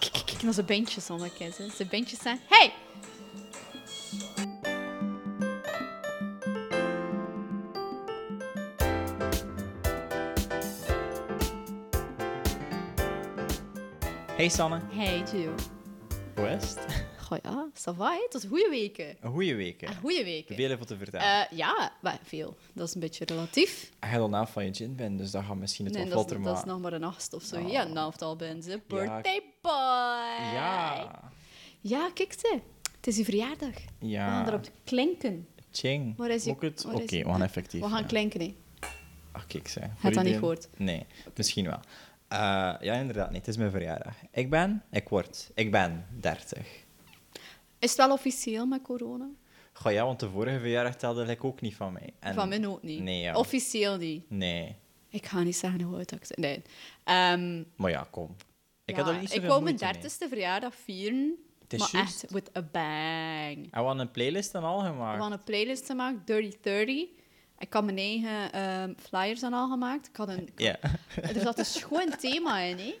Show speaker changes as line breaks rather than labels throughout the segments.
que nossa bentjes dan wel kennen. Ze bandjes zijn. Hey!
Hey Sanne.
Hey, Jill.
Hoe is het?
Goh ja, ça va, hè? Tot goede weken.
Een goede week.
Een
hè?
goede weken.
Veel even te vertellen.
Ah, Eh, ja, maar veel. Dat is een beetje relatief.
Hij had al naam van je gin bent, dus dat gaat misschien het wat
dat,
vlotter
is, dat is
maken.
nog maar een acht of zo.
Ah.
Ja, een half al ben ze. Birthday boy!
Ja.
Ja, kijk ze. Het is je verjaardag.
Ja.
We gaan erop klinken.
Ching.
Waar is je-
Moet ik het?
waar
Oké,
is je-
we gaan effectief.
We gaan
ja.
klinken, hè.
Ach, kijk, zeg. Voor
dat niet
iedereen-
gehoord?
Nee, misschien wel. Eh, ja, inderdaad niet. Het is mijn verjaardag. Ik ben, ik word, ik ben 30.
Is het wel officieel met corona?
Goh ja, want de vorige verjaardag telde ik ook niet van mij. En-
Van mij ook niet.
Nee, ja.
Officieel niet.
Nee.
Ik ga niet zeggen hoe oud ik ben. Nee. Ehm,
Maar ja, kom. Ik
ja,
had er niet
Ik
zoveel
wou mijn
moeite mee.
dertigste verjaardag vieren,
Het is
maar
juist.
echt with a bang.
En Ah, we hadden een playlist en al
We
gemaakt.
hadden een playlist gemaakt, Dirty 30. Ik had mijn eigen ehm, flyers en al gemaakt. Ik had een, ik
Ja.
had- Er zat een schoon thema in, hè.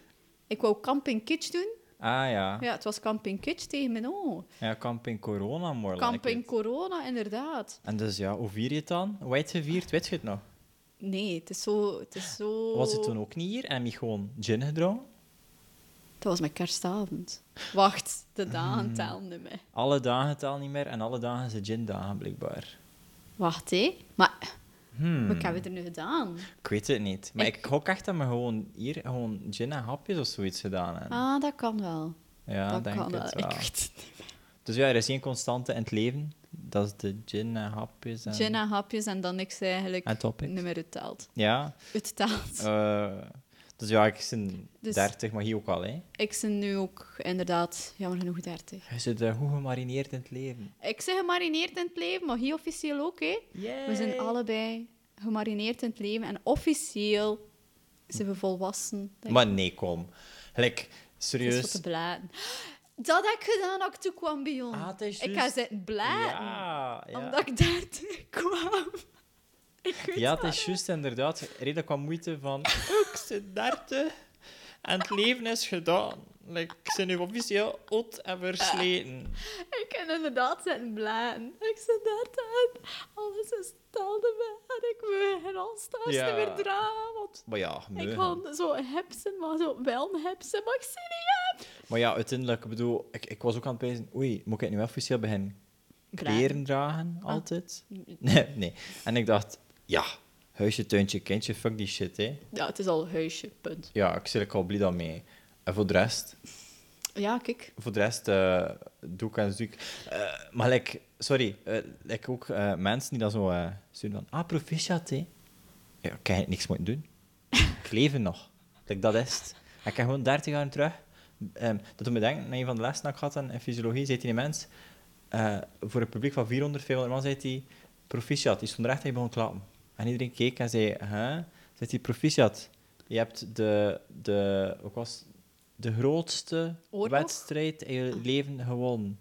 Ik wou Camping Kitsch doen.
Ah ja.
Ja, het was Camping Kitsch tegen mijn oog.
Ja, camping corona, more
Camping
like it.
Corona, inderdaad.
En dus ja, hoe vier je het dan? Hoe heb je het gevierd? Weet je het nog?
Nee, het is zo... Het is zo...
Was het toen ook niet hier en heb je gewoon gin gedronken?
Dat was mijn kerstavond. Wacht, de
Hmm.
dagen tellen niet meer.
Alle dagen tel niet meer en alle dagen zijn gin-dagen, blijkbaar.
Wacht, hé. Maar
Hmm.
wat hebben we er nu gedaan?
Ik weet het niet. Maar
Ik-
ik, gok echt dat we gewoon hier gewoon gin en hapjes of zoiets gedaan hebben.
Ah, dat kan wel.
ja,
dat
denk
kan
het
wel.
wel.
Ik weet het niet.
Dus ja, er is één constante in het leven. Dat is de gin en hapjes en,
Gin en hapjes en dan niks eigenlijk
en topics.
niet meer uittelt.
Ja.
Uittelt.
eh, dus ja, ik ben
Dus-
30, maar hier ook al, hè.
Ik ben nu ook inderdaad jammer genoeg 30.
Je zit eh, goed gemarineerd in het leven.
Ik ben gemarineerd in het leven, maar hier officieel ook, hè. We zijn allebei gemarineerd in het leven en officieel zijn we volwassen. denk
Maar nee, kom. Gelijk,
Het is voor
serieus.
te bladen. Dat heb ik gedaan als ik toe kwam bij ons.
Ah, het is
ik
juist.
ga zitten bladen.
Ja, ja.
Omdat ik daar te- kwam. Ik weet
ja, het
dat.
is juist inderdaad. Redelijk wat moeite van. "Oh, Ik zit 30 en het leven is gedaan. Like, ik ben nu officieel oud en versleten.
Ik kan inderdaad zitten bladen. Ik zit daar te Alles is stelde me. En ik wil geen alstaars
Ja.
meer dragen. Want
Maar ja,
ik
meugen.
kan zo hepsen, maar zo wel een hepsen. Maar ik zie niet heb.
maar ja, uiteindelijk, ik bedoel, ik, ik was ook aan het pijzen. Oei, moet ik nu officieel beginnen? Kleren dragen,
Ah.
altijd? Nee, nee. En ik dacht, ja, huisje, tuintje, kindje, fuck die shit, hè.
Ja, het is al een huisje, punt.
Ja, ik zit er al blij dan mee. En voor de rest,
Ja, kijk.
Voor de rest eh, doe ik en zoek. Eh, maar like, sorry, eh, like ook eh, mensen die dan zo eh sturen van... Ah, proficiat, hè. Ja, ik heb niks moeten doen. ik leef nog. Like, dat is het. En Ik heb gewoon 30 jaar terug. ehm, dat doet me denken, na een van de lessen dat ik had in in fysiologie, zei die mens... eh, voor een publiek van 400, 500 man, zei hij... Proficiat. Die stond er echt en die begon te klappen. En iedereen keek en zei... Huh? Zei hij, proficiat. Je hebt de... de wat was de grootste
Oorlog?
wedstrijd in je leven gewonnen.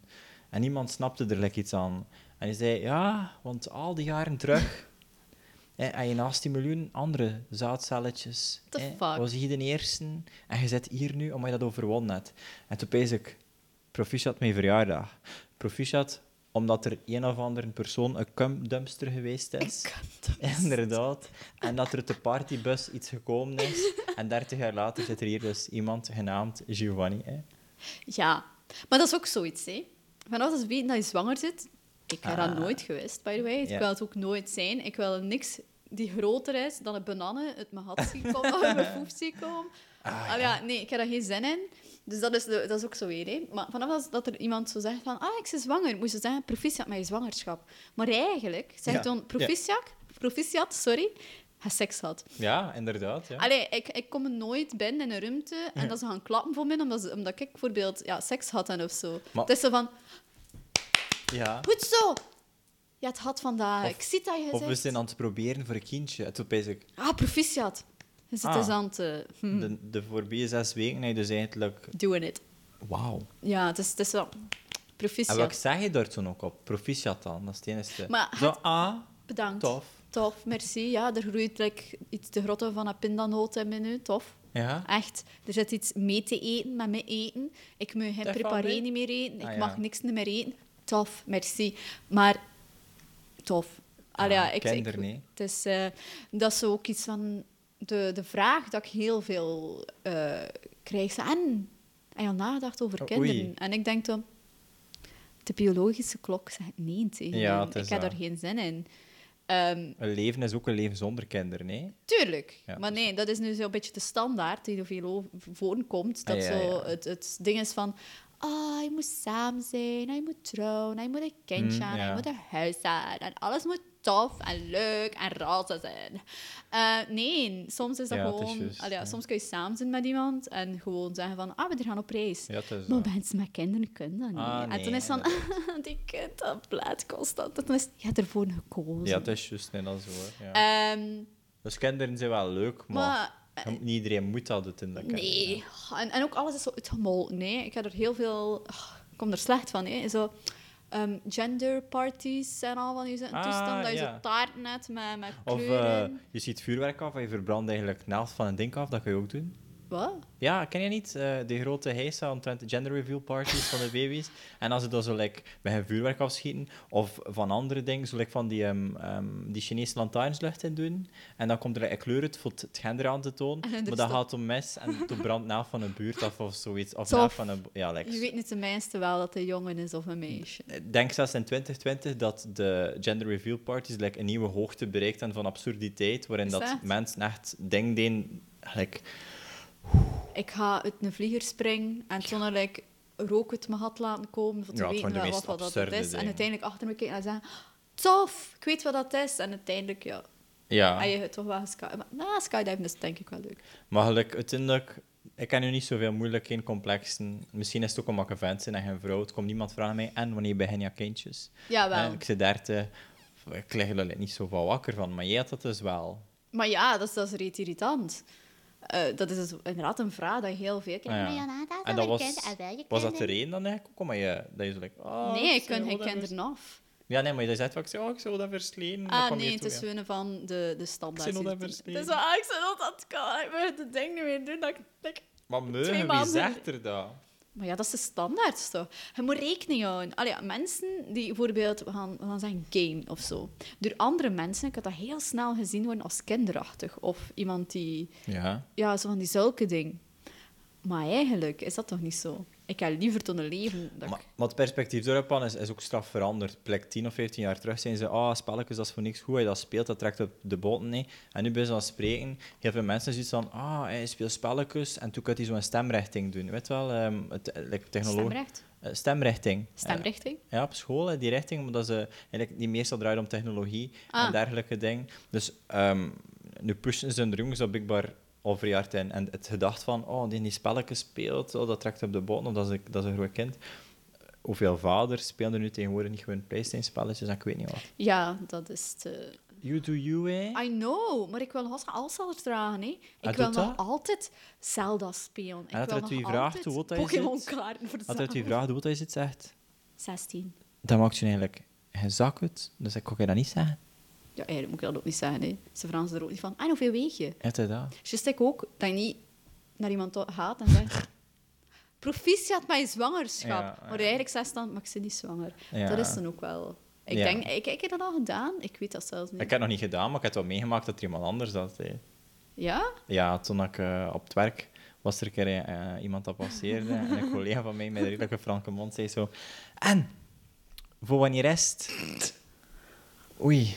En niemand snapte er like iets aan. En hij zei, ja, want al die jaren terug... hè, En je naast die miljoen andere zaadcelletjes.
The
hè,
fuck?
Was je de eerste? En je zit hier nu omdat je dat overwonnen hebt. En toen pees ik, proficiat mijn verjaardag. Proficiat omdat er een of andere persoon een cumdumpster geweest is. Inderdaad. En dat er te partybus iets gekomen is. En 30 jaar later zit er hier dus iemand genaamd Giovanni. Hè.
Ja, maar dat is ook zoiets, hè. Vanaf dat ze weten dat je zwanger zit... Ik heb dat nooit gewist, by the way. Ik
Ah. Ja.
wil het ook nooit zijn. Ik wil niks die groter is dan een bananen uit mijn had zien komen, uit mijn foef zien komen. Ah, ja, nee, ik heb daar geen zin in. Dus dat is, de- dat is ook zo weer, hè. Maar vanaf dat, dat er iemand zo zegt van... Ah, ik ben zwanger. Moet ze zeggen, proficiat met je zwangerschap. Maar eigenlijk zegt
Ja,
dan
ja.
proficiat, proficiat, sorry, hij seks had.
Ja, inderdaad. Ja.
Allee, ik, ik kom nooit binnen in een ruimte en dat ze gaan klappen voor mij, omdat, ze- omdat ik bijvoorbeeld ja, seks had en of zo.
Maar-
Het is zo van,
Ja.
goed zo! Ja, het had vandaag.
Of-
ik zie dat je
Of we
zegt.
zijn aan het proberen voor een kindje. En toen pees ik,
Ah, proficiat. Je zit
Ah.
dus aan het... eh, hm,
de, de voorbije zes weken heb je dus eigenlijk...
doing it.
Wauw.
Ja, het is, het is wel...
En
Proficiat.
wat zeg je daar toen ook op? Proficiat dan, dat is het enige.
Maar
Zo, ah,
Bedankt.
tof.
Tof, merci. Ja, er groeit like, iets te grotten van een pindanoot in mijn nu. Tof.
Ja?
Echt, er zit iets mee te eten met mijn eten. Ik moet geen
Dat valt
preparé
mee?
niet meer eten. Ik
Ah, ja.
mag niks niet meer eten. Tof, merci. Maar tof. Allee,
Ah,
ja, ik, ik,
kinder, nee.
het is, eh, dat is ook iets van de, de vraag dat ik heel veel eh, krijg. Zo, En heb je al nagedacht over
O,
kinderen?
Oh, oei.
En ik denk dan, de biologische klok zegt nee tegen.
Ja,
hen.
het is
ik heb
dat.
er geen zin in. Ehm,
Een leven is ook een leven zonder kinderen, nee?
Tuurlijk.
Ja, dus-
maar
dat is-
nee, dat is nu zo'n beetje de standaard die er veel over- voorkomt. Dat
Ah, ja,
zo
ja.
Het, het ding is van... Ah, je moet samen zijn, en je moet trouwen, en je moet een kindje
Mm,
aan, en
ja.
je moet een huis aan. En alles moet tof en leuk en roze zijn. Eh, nee, soms is dat
Ja, het is
gewoon...
juist,
allee, ja,
ja.
Soms kun je samen zijn met iemand en gewoon zeggen van... Ah, we gaan op reis.
Ja, het is eh,
Maar
dat.
mensen met kinderen kunnen dat niet.
Ah,
en
nee,
toen is het van... die kind, dat plaat constant. En toen is het, je hebt ervoor gekozen.
Ja, het is juist, nee, dat is zo. Ja.
Ehm,
dus kinderen zijn wel leuk, maar,
maar
je moet- niet iedereen moet dat het in dat kinderen.
Nee, en, en ook alles is zo uitgemolken. Nee, ik heb er heel veel. ah, Ik kom er slecht van. Hè. Zo, ehm, genderparties en al van die
Ah,
toestand. Dat je
ja.
zo taart net met, met
Of eh,
kleuren.
je ziet vuurwerk af en je verbrandt eigenlijk de helft van een ding af, dat kun je ook doen.
Wat?
Ja, ken je niet? Eh, de grote heisa omtrent gender reveal parties van de baby's. En als ze dan zo like, bij hun vuurwerk afschieten, of van andere dingen, zo like, van die, ehm, ehm, die Chinese lantaarnslucht in doen. En dan komt er like, een kleur uit voor het het gender aan te tonen.
En er
Maar
is
dat
Dus dat-
gaat om mes en toen brandt na van een buurt af of zoiets. Of
Tof.
na van een... bo- Ja, like,
Je weet niet tenminste wel dat het een jongen is of een meisje.
ik denk zelfs in 2020 dat de gender reveal parties like, een nieuwe hoogte bereikt hebben van absurditeit, waarin
Is
dat,
dat?
mensen echt ding deden... Like,
Ik ga uit een vlieger springen en toen had ik rook uit mijn gat laten komen. Voor te
Ja, het
weten
waren de
wat,
meest
wat dat
absurde
is. En
dingen.
uiteindelijk achter me kijken en zeggen: Tof, ik weet wat dat is. En uiteindelijk, ja.
ja.
Heb Ah, je het toch wel gesky... Maar nou, skydiven is denk ik wel leuk.
Maar gelijk, uiteindelijk, ik ken nu niet zoveel moeilijk, geen complexen. Misschien is het ook omdat ik een vent ben en geen vrouw. Het komt niemand vragen mij. En wanneer begin je kindjes?
Jawel.
En ik zit daar te... Ik lig er eigenlijk niet zo van wakker van, maar jij had dat dus
Ah,
wel.
Maar ja, dat is, dat is reet irritant. Eh, dat is dus inderdaad een vraag dat je heel veel
Ah,
krijgt.
ja.
Maar ja, dat is
En
wel
dat
een
was,
dus
kind, en wel je
was dat de
kinderen.
reden dan eigenlijk ook? Omdat je, dat je zo like, oh,
nee, ik
zei,
kan geen
whatever.
kinderen af.
Ja, nee, maar je zei vaak, oh, ik zou dat versleten. Dat
Ah,
kwam
nee,
hier
het
toe,
is
ja.
winnen van de, de standaard.
Ik zin dat
systeem.
verstaan.
Het is wel, ah, ik zin dat dat kan. Ik wil het ding niet meer doen. Dat ik, dat ik-
Maar
twee
meugen, wie
maanden.
zegt er dat?
Maar ja, dat is de standaard toch? Je moet rekening houden. Allee, ja, mensen die bijvoorbeeld we gaan, we gaan zeggen game of zo. Door andere mensen ik had dat heel snel gezien worden als kinderachtig. Of iemand die...
Ja.
Ja, zo van die zulke ding. Maar eigenlijk is dat toch niet zo? Ik heb liever toen een leven dat ik-
Maar, maar het perspectief daarop is, is ook straf veranderd. Plek 10 of 15 jaar terug zijn ze, ah, spelletjes, dat is voor niks goed, hij dat speelt, dat trekt op de botten. Nee. En nu ben je aan het spreken, heel veel mensen zoiets van, ah, hij speelt spelletjes, en toen kan hij zo'n stemrichting doen. Weet je wel, ehm het, eh, like, technologie...
Stemrecht?
Eh, stemrichting. Eh,
Stemrichting?
ja, op school, hè, die richting, omdat ze eigenlijk die meestal draait om technologie en
Ah.
dergelijke dingen. Dus ehm, nu pushen ze hun jongens op blijkbaar al verjaard in. En het gedacht van, oh, die die spelletjes speelt, oh, dat trekt op de botten, dat is, een- dat is een groot kind. Hoeveel vaders spelen er nu tegenwoordig niet gewoon PlayStation-spelletjes en ik weet niet wat.
Ja, dat is te...
You do you, eh?
I know, maar ik wil nog altijd dragen, hè.
Ah,
Ik wil
doet
nog
dat?
altijd Zelda spelen. Ik
had
wil
er
nog
twee vragen
altijd
toe, wat hij
Pokémon-kaarten verzamelen.
Altijd die vraag doet hij iets zegt,
16.
dat maakt je eigenlijk geen zak uit. Dus ik kon je dat niet zeggen.
Ja, eigenlijk moet ik dat ook niet zeggen, hè. Ze vragen er ook niet van, en hoeveel weeg je?
Heeft hij dat?
Just ik ook, dat je niet naar iemand to- gaat en zegt... Proficiat met je zwangerschap.
Ja, ja.
Maar eigenlijk zegt ze dan, maar ik ben niet zwanger.
Ja.
Dat is dan ook wel... Ik
Ja.
denk, ik, ik heb dat al gedaan. Ik weet dat zelfs niet.
Ik heb het nog niet gedaan, maar ik heb wel meegemaakt dat er iemand anders dat deed.
Ja?
Ja, toen ik eh, op het werk was er een keer eh, iemand dat passeerde en een collega van mij met een redelijke franke mond zei zo en, voor wanneer is het? Oei.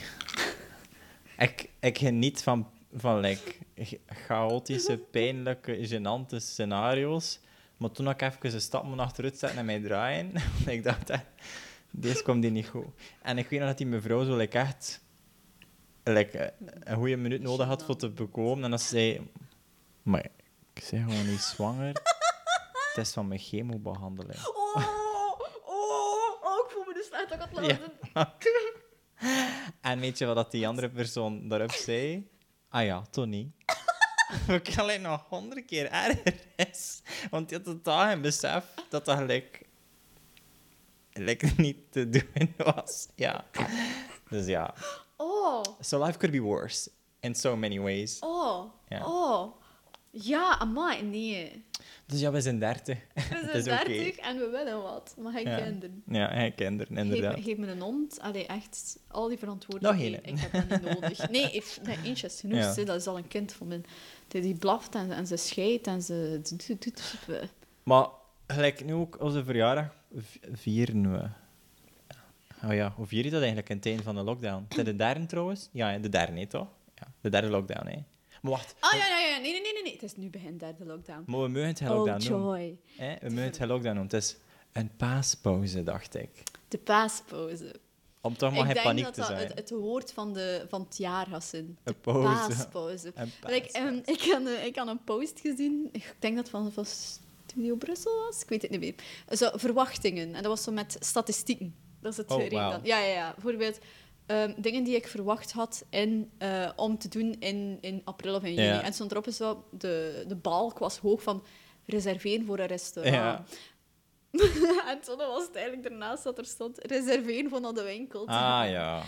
Ik, ik geniet van, van like, ch- chaotische, pijnlijke, gênante scenario's. Maar toen ik even een stap moet achteruit zetten en mij draaien, ik dacht, eh, deze komt hier niet goed. En ik weet nog dat die mevrouw zo like, echt like, eh, een goede minuut nodig had voor te bekomen. En dat ze zei, maar ik ben gewoon niet zwanger. Het is van mijn chemobehandeling.
Oh, oh, oh, ik voel me dus slecht dat ik het
Ja. En weet je wat dat die andere persoon daarop zei? Ah ja, Tony. Wat ik alleen nog honderd keer erger is. Want je had totaal geen besef dat dat gelijk... gelijk niet te doen was. Ja. Dus ja.
Oh,
So life could be worse. In so many ways.
oh,
Ja.
oh. Ja, amai, nee.
Dus ja, we zijn 30.
We zijn
is oké.
30 en we willen wat. Maar geen
Ja.
kinderen.
Ja, hij kinderen, inderdaad.
Geef, geef me een hond. Allee, echt, al die verantwoordelijkheden.
Nog
ik heb dat niet nodig. Nee, ik, nee eentje is genoeg.
Ja.
hè. Dat is al een kind van mijn... Die, die blaft en, en ze scheidt en ze doet... doet, doet- doet-
Maar gelijk nu ook onze verjaardag v- vieren we. Oh ja, hoe vier je dat eigenlijk in het einde van de lockdown? Is dat de derde trouwens? Ja, hè, de derde, hè, toch? Ja, de derde lockdown, hè. Maar wacht,
Ah, ja, ja, ja. Nee, nee, nee, nee, nee. Het is nu begin derde lockdown.
maar we mogen het geen
Oh,
lockdown noemen.
joy.
Hè? We mogen het geen lockdown noemen. Het is een paaspauze, dacht ik.
De paaspauze.
Om toch maar
ik
geen
denk
paniek
dat
te
dat
zijn.
het, het woord van, de, van het jaar gaat zijn. De
Een pauze.
paaspauze.
Een
Want Ik, ehm,
paaspauze.
ik, had, een- ik had een post gezien, ik denk dat het van, van Studio Brussel was, ik weet het niet meer. Zo, verwachtingen, en dat was zo met statistieken. Dat is het
Oh,
reden
wauw.
dan. Ja, ja, ja. Bijvoorbeeld ehm, dingen die ik verwacht had in, eh, om te doen in, in april of in juni.
Ja.
En stond erop is zo, de, de balk was hoog van reserveren voor een restaurant.
Ja.
en toen was het eigenlijk daarnaast dat er stond reserveren voor naar de winkel. te gaan.
Ah ja.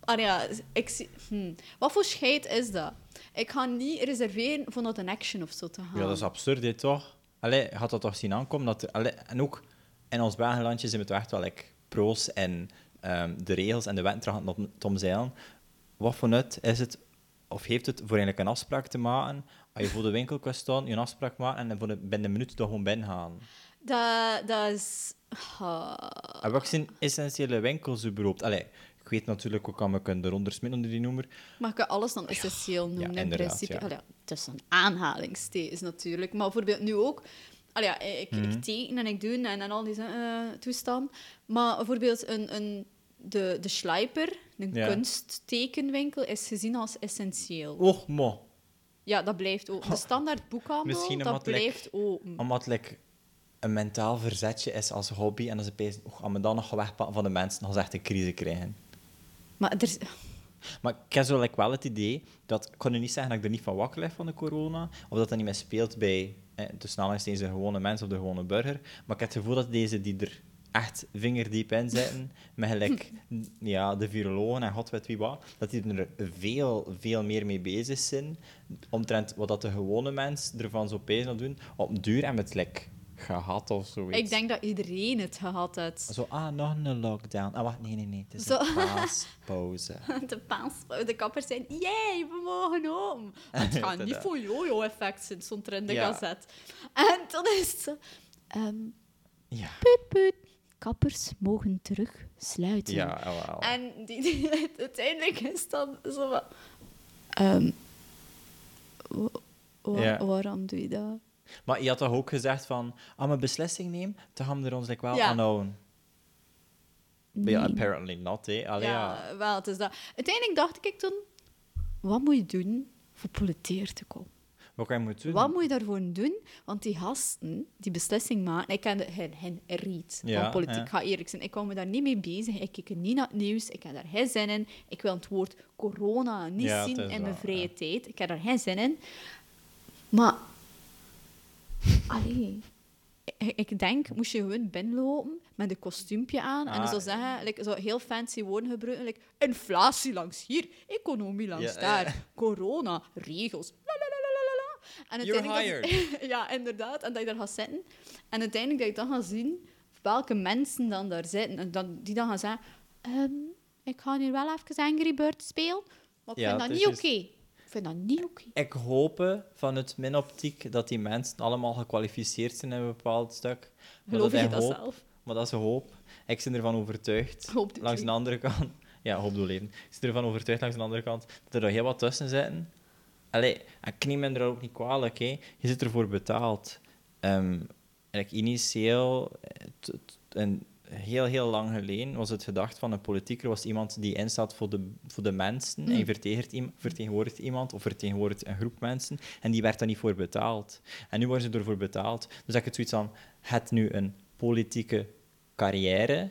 Ah ja, ik zie... hm. Wat voor scheid is dat? Ik ga niet reserveren voor naar een action of zo te gaan.
Ja, dat is absurd, dit toch? Allee, je had dat toch zien aankomen? Dat er- allee, en ook in ons Belgenlandje zijn we toch echt wel like, pro's en ehm, de regels en de wetten terug aan het omzeilen. Wat voor nut is het, of heeft het voor eigenlijk een afspraak te maken? Als je voor de winkel kunt staan, je een afspraak maken en dan voor de, binnen een minuut er gewoon binnen gaan.
dat, dat is... Ah.
En wat zijn essentiële winkels überhaupt? Allee, ik weet natuurlijk ook aan me kunnen eronder smitten onder die noemer.
Maar ik kan alles dan essentieel noemen, in
inderdaad,
principe.
ja.
Allee, ja, tussen aanhalingstekens natuurlijk. Maar bijvoorbeeld nu ook... Allee, ja, ik,
Mhm.
ik teken en ik doe en, en al die eh toestand. Maar bijvoorbeeld een, een, de, de Schleiper, een
Ja.
kunsttekenwinkel, is gezien als essentieel.
Och, mo.
Ja, dat blijft ook. De standaard boekhandel,
Misschien
dat
omdat, like,
blijft open.
Omdat like, een mentaal verzetje is als hobby en dan ze pezen, "Och, als we dat nog wegpakken van de mensen, dan gaan ze echt een crisis krijgen.
Maar er is...
Maar ik heb zo like, wel het idee dat. Ik kon nu niet zeggen dat ik er niet van wakker lig van de corona. Of dat dat niet meer speelt bij. Eh, tussen aanhalingstekens de gewone mens of de gewone burger. Maar ik heb het gevoel dat deze die er echt vingerdiep in zitten. met gelijk ja, de virologen en god weet wie wat. dat die er veel, veel meer mee bezig zijn. omtrent wat dat de gewone mens ervan zo bezig aan doen. op duur en met like, gehad of zoiets.
Ik denk dat iedereen het gehad heeft.
Zo, ah, nog een lockdown. Ah, wacht, nee, nee, nee. Het is
Zo.
een paaspauze.
De paas, de kappers zijn, jee, we mogen om. Maar het gaat niet voor jojo-effect zijn, stond er in de
Ja.
gazet. En dan is het zo... ehm,
Ja,
puut, puut, kappers mogen terug sluiten.
ja, wel.
En die, die- uiteindelijk is dan zo van... ehm, wa- wa-
Ja.
Waarom doe je dat?
Maar je had toch ook gezegd van, als we een beslissing nemen, dan gaan we er ons like wel
Ja.
aan houden. Maar Ja,
Nee.
apparently not, hè. Allee, ja.
ja, wel, het is dat. Uiteindelijk dacht ik toen, wat moet je doen voor poleteer te komen?
Wat kan je moeten doen?
Wat moet je daarvoor doen? Want die gasten die beslissing maken, ik ken hen, hen reet
Ja,
van politiek,
ja.
ga eerlijk zijn. Ik kwam me daar niet mee bezig, ik kijk niet naar het nieuws, ik heb daar geen zin in. Ik wil het woord corona niet
Ja,
zien
het is
in mijn
waar,
vrije
ja.
tijd, ik heb daar geen zin in. Maar, allee, ik, ik denk, moest je gewoon binnenlopen met een kostuumpje aan en
Ah,
zo zeggen, like, zo heel fancy woorden gebruiken, like, inflatie langs hier, economie langs
Ja,
daar,
ja.
corona, regels, la la la la la la. En
You're
uiteindelijk dat- ja, inderdaad. En dat je daar gaat zitten. En uiteindelijk dat je dan gaat zien welke mensen dan daar zitten. En dan, die dan gaan zeggen... "Ehm, ik ga nu wel even Angry Birds spelen, maar ik
Ja,
vind dat
het is
niet oké.
juist-
Ik vind dat niet oké.
Ik hoop vanuit mijn optiek dat die mensen allemaal gekwalificeerd zijn in een bepaald stuk. Maar
Geloof je
is
dat
hoop,
zelf?
Maar dat is een hoop. Ik ben ervan overtuigd.
Hoop doet
langs
leven.
de andere kant. Ja, hoop doet leven. Ik ben ervan overtuigd langs de andere kant dat er nog heel wat tussen zitten. Allee, en ik neem me er ook niet kwalijk. Hè. Je zit ervoor betaald. Ehm, en ik initieel, eh, t- t- een, heel, heel lang geleden, was het gedacht van een politieker was iemand die instaat voor de, voor de mensen. En je vertegenwoordigt, iem- vertegenwoordigt iemand of vertegenwoordigt een groep mensen. En die werd daar niet voor betaald. En nu worden ze ervoor betaald. Dus ik het zoiets van, het nu een politieke carrière.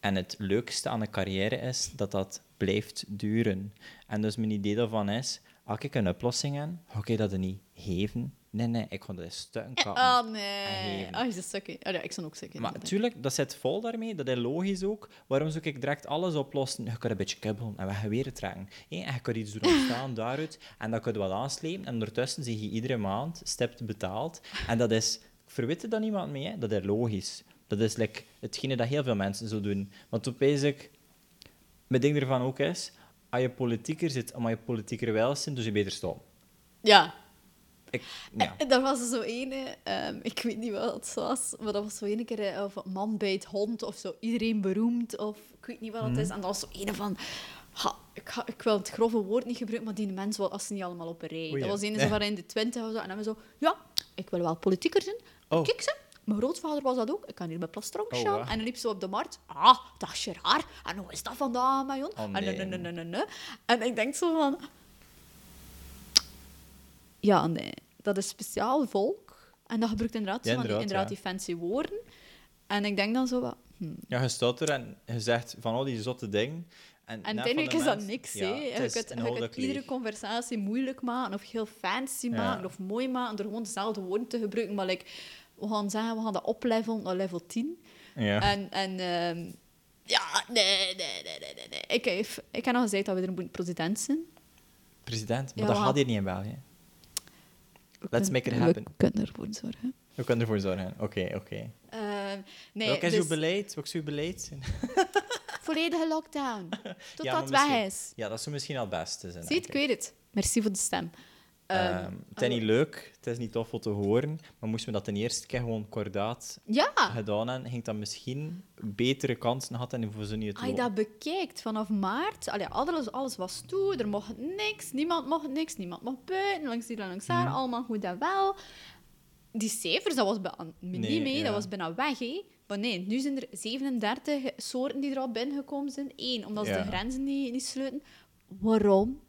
En het leukste aan een carrière is dat dat blijft duren. En dus mijn idee daarvan is, als ik een oplossing heb, ga ik dat niet geven. Nee, nee, ik kon dat stukken kappen.
Ah,
en
nee.
geven.
Ah, is dat sukkie? Ah, ja, ik zou ook sukkie.
Maar natuurlijk, dat zit vol daarmee, dat is logisch ook. Waarom zou ik direct alles oplossen? Je kan een beetje kibbelen en we gaan weer trekken. Hé, En je kan iets doen ontstaan daaruit en dat kun je wel aanslepen. En ondertussen zie je iedere maand stipt betaald. En dat is, ik verwitte dat niemand mee, hè. dat is logisch. Dat is like, hetgene dat heel veel mensen zo doen. Want op basic, mijn ding ervan ook is, als je politieker zit, maar je politieker wel zit, dus je beter stoppen.
Ja,
Ik, ja.
En daar was er zo ene, ehm, ik weet niet wat het was, maar dat was zo ene keer eh, of man bij het hond of zo, iedereen beroemd of ik weet niet wat het is.
Mhm.
En dat was zo ene van, ha, ik, ga- ik wil het grove woord niet gebruiken, maar die mensen was ze niet allemaal op een rij.
Oei,
dat
ja.
was ene zo van in de twintig of zo. En dan we zo, ja, ik wil wel politieker zijn.
Oh.
Kijk ze. Mijn grootvader was dat ook. Ik kan hier bij Plastronk
Oh,
staan.
wauw.
En dan liep ze op de markt. Ah, dat is raar. En hoe is dat vandaan, mijn jong?
Oh,
En,
nee.
nee, nee, nee, nee, nee. en ik denk zo van, ja, nee. Dat is speciaal volk. En dat gebruikt inderdaad,
Ja,
zo van die,
inderdaad,
inderdaad
ja.
die fancy woorden. En ik denk dan zo wat... hm.
Ja, je staat er en je zegt van al die zotte dingen. En,
En
net
uiteindelijk
van
is
de
dat
mens-
niks,
Ja,
hè.
het
Je kunt,
is
je kunt
inhoudelijk
iedere
leeg.
conversatie moeilijk maken, of heel fancy
Ja.
maken, of mooi maken, door gewoon dezelfde woorden te gebruiken. Maar like, we gaan zeggen, we gaan dat oplevelen naar level 10.
Ja.
En, en ehm, ja, nee, nee, nee, nee, nee, nee. Ik, heb- ik heb al gezegd dat we er een president zijn.
President, maar
Ja,
dat
maar-
gaat hier niet in België.
We
Let's
kunnen-
make it happen.
We kunnen ervoor zorgen.
We kunnen ervoor zorgen. Oké, oké.
Ehm, nee,
Welk is uw
dus-
beleid? Wat is uw beleid?
Volledige lockdown. Tot
Ja,
dat
maar
weg
misschien-
is.
Ja, dat zou misschien al het beste zijn.
Zie het, ik
eigenlijk.
weet het. Merci voor de stem. Ehm,
Ehm, het is niet leuk, het is niet tof om te horen, maar moesten we dat de eerste keer gewoon kordaat
ja,
gedaan hebben, ging dat misschien betere kansen gehad en voor ze niet het
als je
loon.
dat bekijkt vanaf maart, allee, alles, alles was toe, er mocht niks, niemand mocht niks, niemand mocht buiten, langs hier en langs daar, allemaal goed en wel. Die cijfers, dat was bij aan- niet
Nee,
mee,
ja.
dat was bijna weg. Hé. Maar nee, nu zijn er 37 soorten die er al binnengekomen zijn. Eén, omdat ze
Ja.
de grenzen niet, niet sluiten. Waarom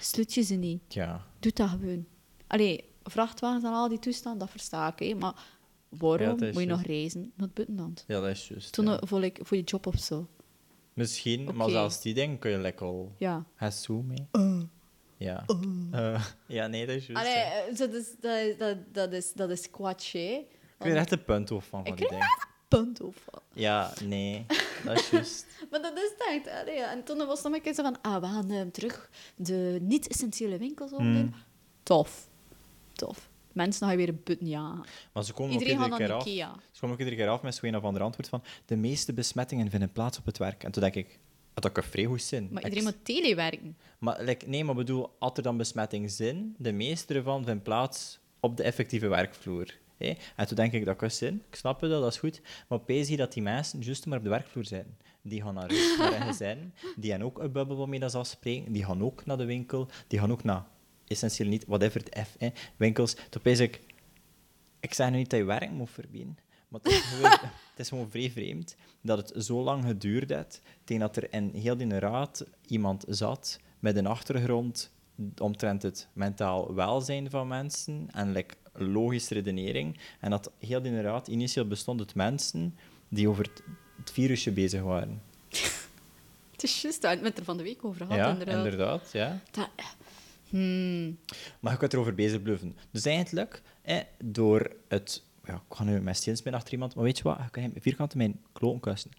sluit je ze niet?
Ja.
doe dat gewoon. Allee, vrachtwagens en al die toestand, dat versta ik. Hè. Maar
Ja,
waarom
dat is
moet je nog
juist.
reizen naar het buitenland?
ja, dat is juist.
Toen
ja.
eh, voor, like, voor je job of zo.
Misschien, maar
Oké.
zelfs die dingen kun je lekker al...
Ja.
Hasu mee. Ja. Eh, ja, nee, dat is juist.
Allee,
ja.
eh, dat is, dat, is- dat, dat is, dat is kwatsch, hè.
Ik weet er echt een punt op van, van
Ik
die
kreeg
dingen.
daar een punt over.
Ja, nee, dat is juist.
Maar dat is het echt. allee, ja. En toen was het nog een keer zo van, ah, we gaan eh, terug de niet-essentiële winkels
Hmm.
opdoen. Tof. Tof. Mensen gaan weer een put niet aan.
Maar ze komen
Iedereen
ook
gaat
iedere keer
naar
af.
Ikea.
Ze komen ook iedere keer af met zo'n een of ander antwoord van de meeste besmettingen vinden plaats op het werk. En toen denk ik, dat kan vrij goed zin.
Maar
Ik-
iedereen moet telewerken.
maar, like, nee, maar bedoel, had er dan besmettingen zin, de meeste ervan vinden plaats op de effectieve werkvloer. hè? En toen denk ik, dat kan zin. Ik snap het, wel, dat is goed. Maar opeens zie je dat die mensen juist maar op de werkvloer zijn. Die gaan naar rust, naar hun gezin. Die hebben ook een bubbel waarmee dat ze afspreken. Die gaan ook naar de winkel. Die gaan ook naar, essentieel niet, whatever het F, hè, winkels. Toen opeens ik, ik zeg nu niet dat je werk moet verbieden, maar het is gewoon, het is gewoon vrij vreemd dat het zo lang geduurd heeft tegen dat er in heel die raad iemand zat met een achtergrond omtrent het mentaal welzijn van mensen en like, logische redenering. En dat heel die raad initieel bestond uit mensen die over het, het virusje bezig waren.
Het is juist, we hebben het er van de week over gehad,
ja,
inderdaad.
inderdaad ja.
Dat, hmm.
Maar je kunt erover bezig bluffen. Dus eigenlijk, eh, door het... Ja, ik ga nu mijn steens mee achter iemand, maar weet je wat? Je kan hem vierkante mijn kloon kussen.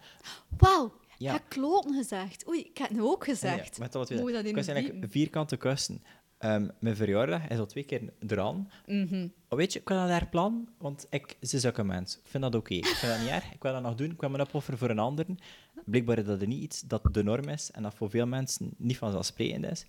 Wauw,
Ja.
ik heb kloten gezegd. Oei, ik heb het nu ook gezegd.
Ah, Ja, maar dat wat
Moet
weer-
je dat in
kussen eigenlijk vierkante kussen. Ehm, mijn verjaardag is al twee keer eraan.
Mhm.
Maar weet je, ik wil dat haar plan, want ik, ze is ook een mens. Ik vind dat oké. Ik vind dat niet erg. Ik wil dat nog doen. Ik wil me opofferen voor een ander. Blijkbaar is dat er niet iets dat de norm is en dat voor veel mensen niet vanzelfsprekend is.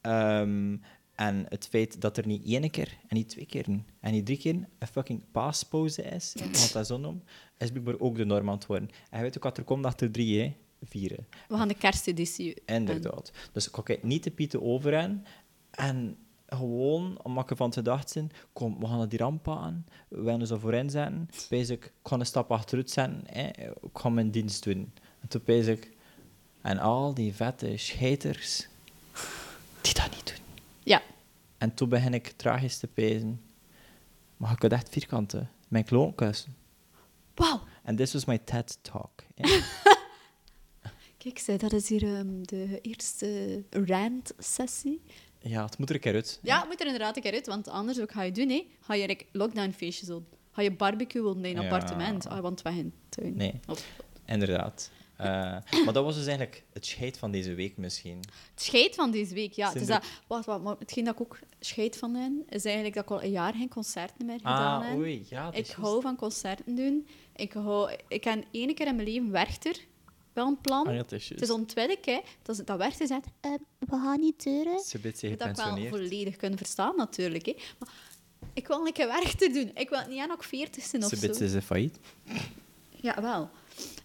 Ehm, en het feit dat er niet één keer, en niet twee keer, en niet drie keer een fucking paaspauze is, want dat zo noemen, is blijkbaar ook de norm aan het worden. En je weet ook wat er komt achter drie, hè? Vieren.
We gaan de kersteditie.
Inderdaad. Dus ik kijk niet te pieten over hen. En gewoon, omdat ik van gedacht zijn, kom, we gaan het die ramp aan. We gaan er voorin zetten. Basic, ik ga een stap achteruit zetten. Hè. Ik ga mijn dienst doen. En toen basic, en al die vette scheiters, die dat niet doen.
Ja,
En toen begin ik tragisch te pezen. Maar ik had echt vierkanten. Mijn kloon kussen.
wauw.
En dit was mijn TED-talk.
Kijk, zij, dat is hier ehm, de eerste rant-sessie.
Ja, het moet er een keer uit.
Ja, het moet er inderdaad een keer uit, want anders wat ga je doen? Hè? Ga je like, lockdownfeestjes doen? Ga je barbecuen in een
Ja.
appartement? Ah, want wij in de tuin.
Nee.
Of-
Inderdaad. Eh, maar dat was dus eigenlijk het scheid van deze week misschien.
Het scheid van deze week, ja. Het is
Zijn
dat, wacht, wacht, maar hetgeen dat ik ook scheid van heb, is eigenlijk dat ik al een jaar geen concerten meer gedaan
Ah,
heb.
oei, ja. dat
Ik
is
hou van concerten doen. Ik, hou, ik heb één keer in mijn leven Werchter wel een plan.
Ah, ja, dat is
Het is ontwikkeling, hè. Dat, is- dat Werchter zegt, eh, we gaan niet deuren.
Ze bent zich
Je moet dat ook wel
gepensioneerd.
volledig kunnen verstaan, natuurlijk. Hè. Maar ik wil een keer Werchter doen. Ik wil niet aan ook veertigste of
Ze bent
zo.
ze failliet.
Ja, wel.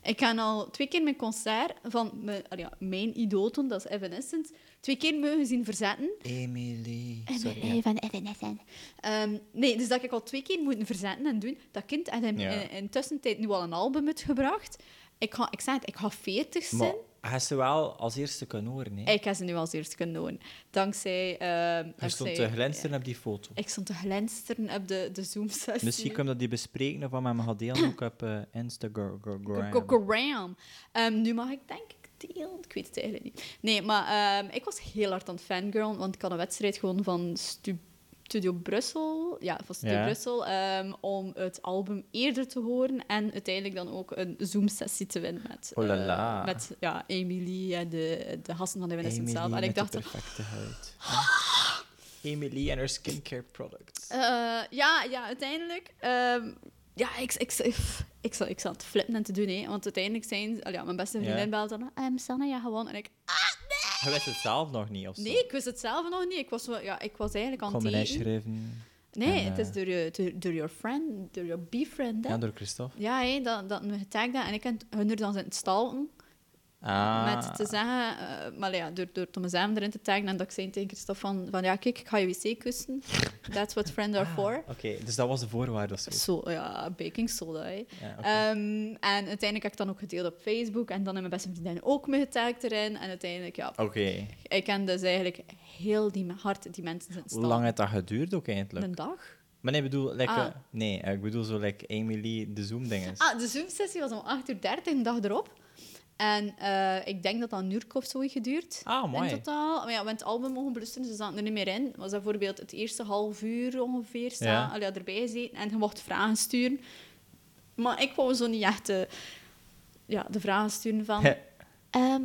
Ik ga al twee keer mijn concert van mijn, ah ja, mijn idool toen, dat is Evanescence, twee keer mogen zien verzetten.
Emily.
En
Eh,
Sorry.
wij
ja.
van Evanescent.
Ehm, nee, dus dat ik al twee keer moet verzetten en doen. Dat kind heeft hem
Ja.
in, in tussentijd nu al een album uitgebracht. Ik, ga, ik zei het, ik ga veertig zijn.
Maar hij is ze wel als eerste kunnen horen, hè?
Ik heb ze nu als eerst kunnen doen. Dankzij... ehm
Hij stond
dankzij-
te glinsteren op die foto.
Ik stond te glinsteren op de, de Zoom-sessie.
Misschien kunnen we dat die bespreken of aan mij mag delen ook op eh, Instagram.
Go- go- Graham. Ehm, nu mag ik denk ik deel. Ik weet het eigenlijk niet. Nee, maar ehm, ik was heel hard aan het fangirl, want ik had een wedstrijd gewoon van Stu- Studio Brussel, ja, van Studio
Ja.
Brussel, ehm, om het album eerder te horen en uiteindelijk dan ook een Zoom-sessie te winnen met,
Oh la
eh,
la.
met ja, Emily en de, de gasten van de Evanescence zelf. En ik dacht, "Ah."
perfecte huid. Emily en haar skincare products.
Eh, ja, ja, uiteindelijk. ehm, ja, ik, ik, ik, ik, zat, ik zat te flippen en te doen, hè. Want uiteindelijk zijn... al ja, mijn beste vriendin
Ja.
belt dan... ehm Sanne, ja, gewoon. En ik...
Hij wist het zelf nog niet, of zo.
Nee, ik wist het zelf nog niet. Ik was, wel- ja, ik was eigenlijk aan
Kom
het
een
eten.
schrijven.
Nee,
En,
het
eh,
is door, je, door, door your friend, door your befriend, hè.
Ja, door Christophe.
Ja, hè, dat, dat me getagd had. En ik heb hun er dan zitten stalken.
Ah.
Met te zeggen... eh, maar ja, door, door Thomas M erin te taggen. En dat ik zei tegen Christophe van, van... Ja, kijk, ik ga je wc kussen. That's what friends are for.
Oké, dus dat was de voorwaarde of zo.
Zo, ja, baking soda, hè.
Ja, oké.
Ehm, en uiteindelijk heb ik dan ook gedeeld op Facebook. En dan hebben mijn beste vriendin ook me getagd erin. En uiteindelijk, ja,
Oké.
ik ken dus eigenlijk heel die hard die mensen zijn
Hoe lang heeft dat geduurd ook eigenlijk?
Een dag.
Maar nee, ik bedoel, like,
Ah.
eh, nee, eh, ik bedoel zo like Emily de Zoom dinges.
Ah, de Zoom-sessie was om 8.30 uur, een dag erop. En eh, ik denk dat dat een uur of zo heeft geduurd.
Ah, mooi.
In totaal. Maar ja, we hebben het album mogen beluisteren, ze zaten er niet meer in. Was dat bijvoorbeeld het eerste half uur ongeveer staan,
Ja.
Allee, ja, erbij gezeten. En je mocht vragen sturen. Maar ik wou zo niet echt eh, ja, de vragen sturen van... Ehm,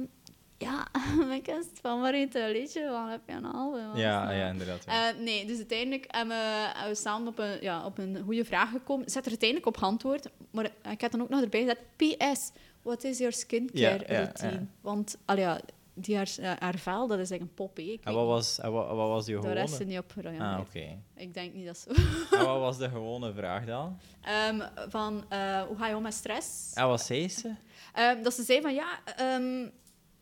ja, mijn kast van waar heet dat liedje van? Heb je een album?
ja, ja, inderdaad. ja.
Eh, nee, dus uiteindelijk hebben we, hebben we samen op een, ja, op een goede vraag gekomen. Zet er uiteindelijk op geantwoord, maar eh, ik heb dan ook nog erbij gezet. PS, what is your skincare
Ja, ja,
routine?
ja.
Want, al ja, die haar, eh, haar vuil, dat is echt een pop, hè. Ik
en
weet
wat was, en wat, en wat was die
niet, daar is
gewone?
ze niet op gereageerd.
Ah, oké.
Ik denk niet dat zo.
En wat was de gewone vraag dan?
Ehm, van, eh, hoe ga je om met stress?
En wat zei ze?
Ehm, dat ze zei van, ja... ehm,